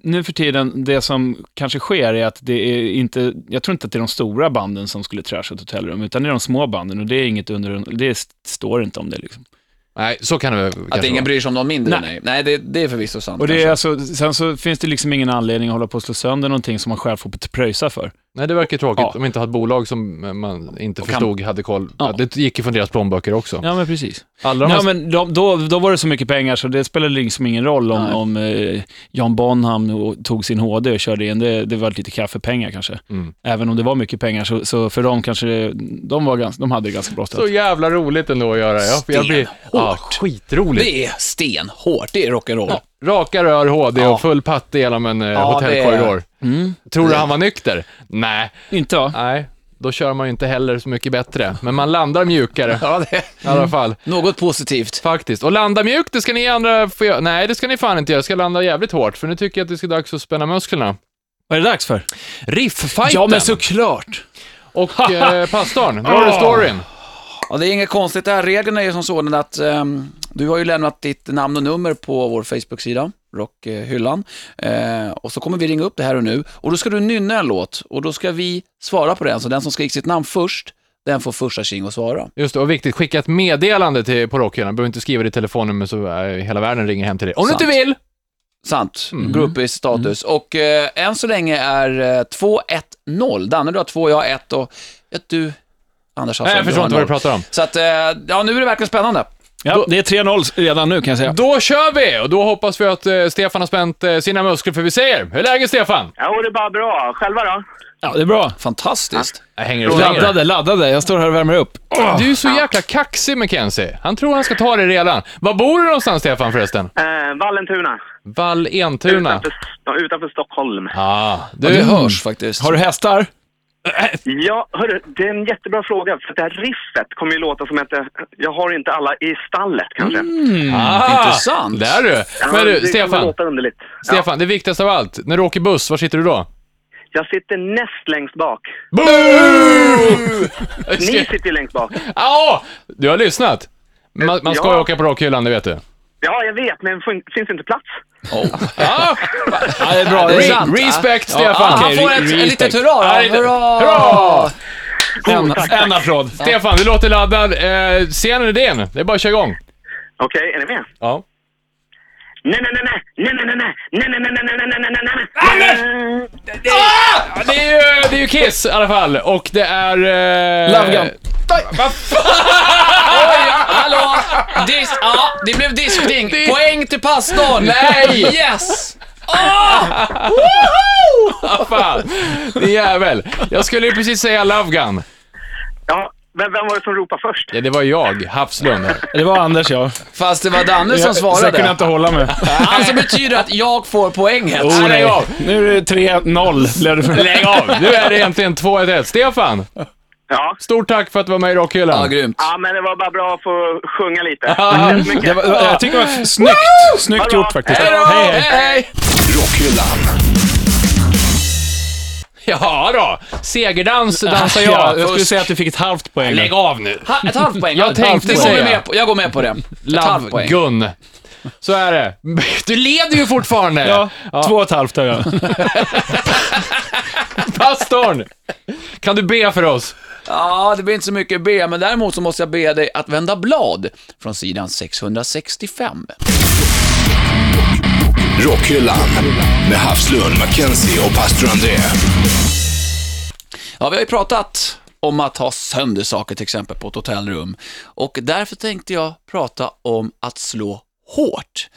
S3: nu för tiden, det som kanske sker är att det är inte, jag tror inte att det är de stora banden som skulle trasha ett hotellrum, utan det är de små banden och det är inget under, det st- står inte om det liksom.
S2: Nej, så kan det väl kanske
S4: Att ingen
S2: vara.
S4: bryr sig om någon mindre,
S3: Nej.
S4: nej. Nej, det, det är förvisso sant.
S3: Och det är
S4: kanske.
S3: alltså, sen så finns det liksom ingen anledning att hålla på och slå sönder någonting som man själv får pröjsa för.
S2: Nej, det verkar tråkigt
S3: Ja.
S2: om man inte har ett bolag som man inte
S4: kan-
S2: förstod hade koll.
S3: Ja.
S2: Det gick ju från deras plånböcker också.
S3: Ja, men precis.
S2: Alla de här
S3: Nej, men de, då, då var det så mycket pengar så det spelade liksom ingen roll om,
S4: Nej.
S3: om eh, John Bonham och- tog sin HD och körde in. Det, det var lite kaffepengar kanske.
S2: Mm.
S3: Även om det var mycket pengar så, så för dem kanske det, de, var ganska, de hade det ganska bra
S2: Så
S3: ställt.
S2: jävla roligt ändå att göra. Jag, jag blir ja, skitroligt.
S4: Det är stenhårt, det är rock'n'roll.
S2: Raka rör, HD
S4: Ja.
S2: och full patte genom en eh,
S4: det är-
S2: hotellkorridor.
S3: Mm.
S2: Tror du han var nykter? Nej.
S3: Inte va?
S2: Nej, då kör man ju inte heller så mycket bättre. Men man landar mjukare
S4: Ja, det är
S2: i alla fall.
S4: något positivt.
S2: Faktiskt. Och landa mjukt, det ska ni andra få göra. Nej, det ska ni fan inte göra. Jag ska landa jävligt hårt, för nu tycker jag att det ska dags att spänna musklerna.
S3: Vad är det dags för?
S2: Riff-fighten
S3: Ja, men såklart.
S2: och eh, pastorn. Då är det storyn.
S4: Ja, det är inget konstigt där. Reglerna är som sådana att ehm, du har ju lämnat ditt namn och nummer på vår Facebook-sida, Rockhyllan. Eh, och så kommer vi ringa upp det här och nu och då ska du nynna en låt och då ska vi svara på den. Så den som skriker sitt namn först, den får första tjing att svara.
S2: Just det, och viktigt, skicka ett meddelande till, på rockhyllan. Behöver inte skriva ditt telefonnummer så eh, hela världen ringer hem till dig. Om
S4: Sant.
S2: du inte vill!
S4: Sant.
S2: Mm.
S4: Gruppis status. Och eh, än så länge är eh, 2-1-0. Danne, du har två, jag har ett och vet du, Anders
S2: Nej,
S4: Hassan,
S2: jag
S4: du
S2: förstår
S4: har
S2: inte vad du
S4: noll.
S2: pratar om.
S4: Så att, eh, ja, nu är det verkligen spännande.
S3: Ja, det är 3-0 redan nu kan jag säga.
S2: Då kör vi! Och då hoppas vi att eh, Stefan har spänt eh, sina muskler, för vi säger, hur är läget Stefan?
S5: Jo, det är bara bra. Själva då?
S3: Ja, det är bra.
S4: Fantastiskt.
S2: Jag hänger och slänger.
S3: Laddade, laddade. Jag står här och värmer upp.
S2: Du är så jäkla kaxig Mackenzie. Han tror han ska ta det redan. Var bor du någonstans Stefan förresten?
S5: Eh, Vallentuna.
S2: Vall-Entuna.
S5: Utanför, ja, utanför Stockholm.
S2: Ah,
S4: Ja,
S2: du
S4: det hörs faktiskt.
S3: Har du hästar?
S5: Ja, hörru, det är en jättebra fråga. För det här riffet kommer ju låta som att jag, jag har inte alla i stallet kanske.
S2: Ah,
S4: Intressant.
S2: Där du.
S5: Ja,
S2: Men
S5: det
S2: du,
S5: kommer
S2: Stefan.
S5: låta underligt. Ja,
S2: Stefan, det viktigaste av allt. När du åker buss, var sitter du då?
S5: jag sitter näst längst bak. Ni sitter ju längst bak.
S2: Ja, du har lyssnat. Man, man ska ju
S5: Ja.
S2: åka på rockhyllan, det vet du.
S5: Ja, jag vet, men fin- finns inte plats?
S2: Ah,
S3: Ja, det är bra.
S4: Det är
S2: re-
S4: sant, va?
S2: respect
S3: Ja,
S2: Stefan.
S3: okej,
S4: Ah, Han får
S3: re-
S4: ett, ett
S3: respect.
S4: litet hurra
S2: Ja,
S4: då.
S2: lite-
S4: Hurra!
S2: Hurra!
S3: En, en applåd.
S2: Stefan, du låter laddad. Eh, scenen är din. Det är bara att köra igång.
S5: Okej, är ni med?
S2: Ja.
S5: Nej, nej, nej, nej, nej, nej, nej, nej, nej, nej, nej, nej, nej, nej, nej, nej, nej, nej, nej,
S2: Ja, Det är ju, det är ju Kiss i alla fall och det är... Eh,
S3: Love Gun.
S4: Hallå! Dis ja, det blev diskning. Poäng till pastorn!
S2: Nej!
S4: Yes!
S2: Vad fan! Din jävel. Jag skulle ju precis säga Love Gun.
S5: Ja, vem, vem var det som ropade först?
S2: Ja, det var jag, Havslund. här.
S3: Det var Anders, ja.
S4: Fast det var Danne som
S3: Jag, så jag kunde
S4: svarade.
S3: inte hålla mig.
S4: Alltså betyder att jag får poänget.
S2: Nej,
S3: Oh, nej.
S2: lägg av.
S3: Nu är det 3-0. blev det för-
S2: Lägg av! Nu är det egentligen 2-1-1. Stefan,
S5: Ja.
S2: stort tack för att du var med i
S4: Ja,
S2: Rockhyllan.
S4: grymt. Mm.
S5: Ja, men det var bara bra att få sjunga lite.
S2: Ah,
S3: Det var, jag tycker det var snyggt. Snyggt gjort faktiskt.
S2: Hej då!
S3: Hej, hej.
S2: hej!
S1: Rockhyllan.
S2: Ja då, segerdans dansar jag.
S3: Ja, jag skulle
S2: Först-
S3: säga att du fick ett halvt poäng.
S2: Lägg av nu.
S4: Ha, ett halvt poäng.
S2: Jag
S4: Ett halvt
S2: tänkte
S4: poäng.
S2: säga.
S4: Jag går, med på, jag går med på det. Ett halvt
S2: Love
S4: poäng.
S2: Gun. Så är det. Du leder ju fortfarande.
S3: Ja, två och ett halvt har jag.
S2: Pastorn! Kan du be för oss?
S4: Ja, det blir inte så mycket B, men däremot så måste jag be dig att vända blad från sidan 665.
S1: Rockhyllan. Med Havslund, Mackenzie och pastor André.
S4: Ja, vi har ju pratat om att ha sönder saker till exempel på ett hotellrum och därför tänkte jag prata om att slå hårt.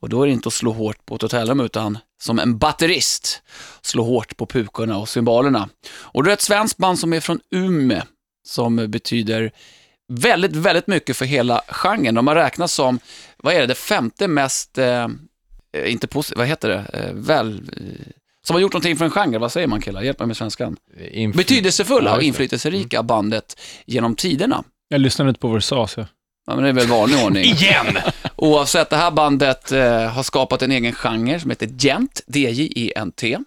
S4: Och då är det inte att slå hårt på ett hotellrum utan som en batterist slå hårt på pukorna och cymbalerna. Och det är ett svenskt band som är från Ume som betyder väldigt, väldigt mycket för hela genren. De har räknats som, vad är det, det femte mest, eh, eh, inte positivt, vad heter det, eh, väl, eh, som har gjort någonting för en genre, vad säger man killar? Hjälp mig med svenskan.
S2: Inf- Ja,
S4: Betydelsefulla och
S2: just det.
S4: inflytelserika bandet genom tiderna.
S3: Jag lyssnade inte på vad du sa, så jag-
S4: Ja, men det är väl vanlig ordning.
S2: Igen!
S4: Oavsett, det här bandet eh, har skapat en egen genre som heter Gent, D-J-E-N-T.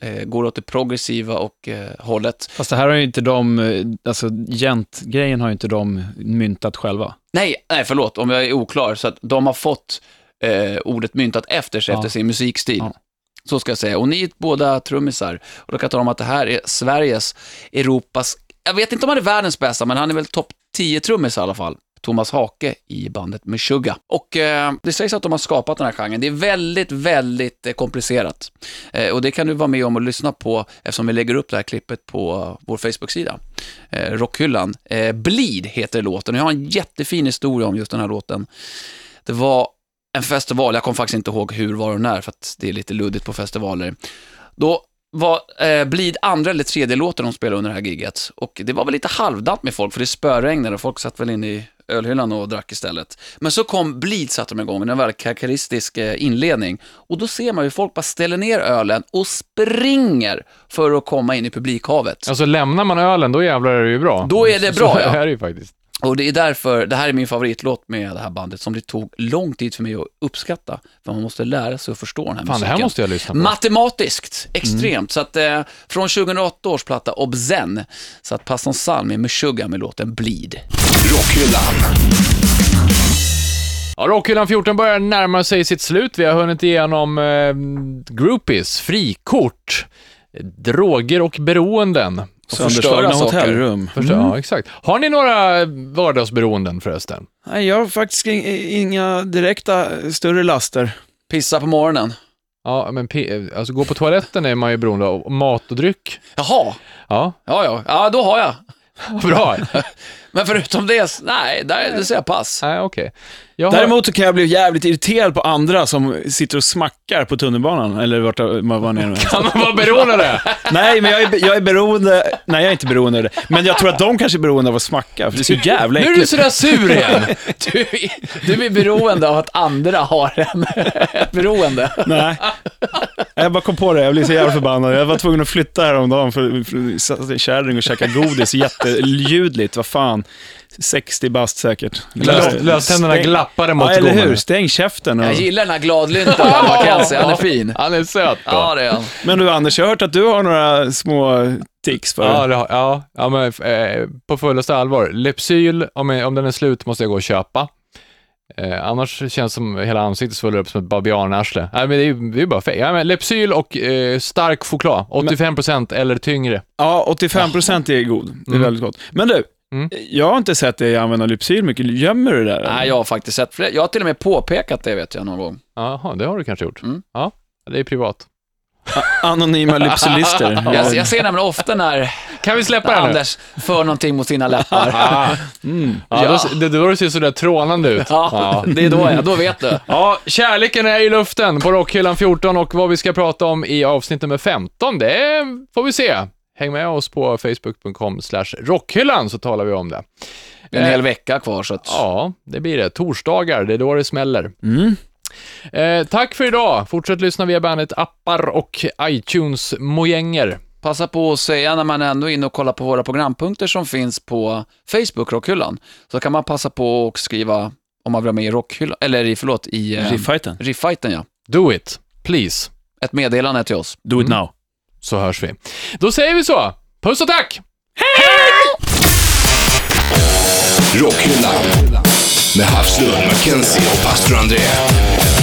S4: Eh, går åt det progressiva och eh, hållet.
S3: Fast det här har ju inte de, eh, alltså gent-grejen har ju inte de myntat själva.
S4: Nej, nej förlåt om jag är oklar. Så att de har fått eh, ordet myntat efter sig,
S3: Ja.
S4: efter sin musikstil.
S3: Ja.
S4: Så ska jag säga. Och ni är båda trummisar. Och då kan jag tala om att det här är Sveriges, Europas, jag vet inte om han är världens bästa, men han är väl topp 10 trummis i alla fall. Thomas Hake i bandet Meshuggah. Och eh, det sägs att de har skapat den här genren. Det är väldigt, väldigt eh, komplicerat. Eh, och det kan du vara med om och lyssna på eftersom vi lägger upp det här klippet på eh, vår Facebook-sida. Eh, rockhyllan. Eh, Bleed heter låten. Jag har en jättefin historia om just den här låten. Det var en festival, jag kommer faktiskt inte ihåg hur, var och när, för att det är lite luddigt på festivaler. Då var eh, Bleed andra eller tredje låten de spelade under det här giget. Och det var väl lite halvdant med folk, för det spöregnade och folk satt väl inne i ölhyllan och drack istället. Men så kom Bleed, satte de igång, med en väldigt karaktäristisk eh, inledning. Och då ser man ju folk bara ställer ner ölen och springer för att komma in i publikhavet.
S2: Alltså lämnar man ölen, då jävlar är det ju bra.
S4: Då är det bra,
S2: Så
S4: ja.
S2: är det ju faktiskt.
S4: Och det är därför, det här är min favoritlåt med det här bandet som det tog lång tid för mig att uppskatta. För man måste lära sig att förstå den här
S2: Fan, det
S4: musiken.
S2: här måste jag lyssna på. Mm.
S4: Matematiskt, extremt. Så att eh, från 2008 års platta Obzen, så att Paston Salm är Meshuggah med låten Bleed.
S1: Rockhyllan.
S2: Ja, Rockhyllan 14 börjar närma sig sitt slut. Vi har hunnit igenom eh, groupies, frikort, droger och beroenden.
S3: Sönderslagna
S4: förstöra saker.
S3: hotellrum.
S2: Förstår, Ja, exakt. Har ni några vardagsberoenden förresten?
S3: Nej, jag har faktiskt ing- inga direkta eh, större laster.
S4: Pissa på morgonen.
S2: Ja, men P- alltså gå på toaletten är man ju beroende av mat och dryck.
S4: Jaha,
S2: Ja,
S4: ja ja, ja då har jag.
S2: bra.
S4: Men förutom det, nej, där, det säger jag pass.
S2: Nej, okej. Jag har-
S3: Däremot så kan jag bli jävligt irriterad på andra som sitter och smackar på tunnelbanan, eller vart man var nere med.
S2: Kan man vara beroende av det?
S3: Nej, men jag är, jag är beroende, nej jag är inte beroende av det, men jag tror att de kanske är beroende av att smacka, för det är så jävla
S2: Nu är du
S3: äckligt.
S2: sådär sur igen.
S4: Du, är- du är beroende av att andra har en beroende.
S3: Nej. Jag bara kom på det, jag blev så jävla förbannad. Jag var tvungen att flytta häromdagen för, för satt i en kärring och käkade godis jätteljudligt. Vad fan, 60 bast säkert.
S2: Lös- löständerna
S3: Stäng-
S2: glappade mot
S3: ja, eller
S2: gommarna.
S3: hur? Stäng käften. Och...
S4: Jag gillar den här gladlyntan, Emma Kenzie, han är fin.
S2: Han är söt. då.
S4: Ja, det är han.
S3: Men du Anders, jag har hört att du har några små tics för
S2: Ja, det har, ja, ja men, eh, på fullaste allvar. Lypsyl, om, jag- om den är slut måste jag gå och köpa. Eh, annars känns som hela ansiktet svullnar upp som ett babianarsle. Nej, men det är ju det är ju bara fel. Ja, men Lypsyl och eh, stark choklad, 85% eller tyngre.
S3: Ja, 85% är god. Det är
S2: Mm.
S3: väldigt gott. Men du,
S2: Mm.
S3: jag har inte sett dig använda Lypsyl mycket. Gömmer du det där? eller?
S4: Nej, jag har faktiskt sett fler. Jag har till och med påpekat det vet jag någon gång.
S2: Jaha, det har du kanske gjort.
S4: Mm.
S2: Ja, det är privat.
S3: Anonyma Lypsylister.
S4: Jag, jag ser nämligen ofta när,
S2: Kan vi släppa
S4: när
S2: det här nu?
S4: Anders för någonting mot sina läppar.
S2: Ah,
S3: Mm.
S2: ja, då, det, då ser du sådär trånande ut.
S4: Ja, det är då jag, då vet du.
S2: Ja, kärleken är i luften på Rockhyllan 14 och vad vi ska prata om i avsnitt nummer 15, det får vi se. Häng med oss på facebook.com slash rockhyllan så talar vi om det.
S4: Det är en hel vecka kvar så att...
S2: Eh. Ja, det blir det. Torsdagar, det är då det smäller. Eh, tack för idag. Fortsätt lyssna via bandet appar och iTunes-mojänger.
S4: Passa på att säga när man ändå är inne och kollar på våra programpunkter som finns på Facebook, Rockhyllan. Så kan man passa på och skriva om man vill vara med i Rockhyllan, eller i, förlåt, i eh,
S3: Riffajten.
S4: Riffajten ja.
S2: Do it, please,
S4: Ett meddelande till oss.
S3: Do it now.
S2: så hörs vi. Då säger vi så. Puss och tack!
S1: Rockhyllan. Med Havslund, Mackenzie och pastor André.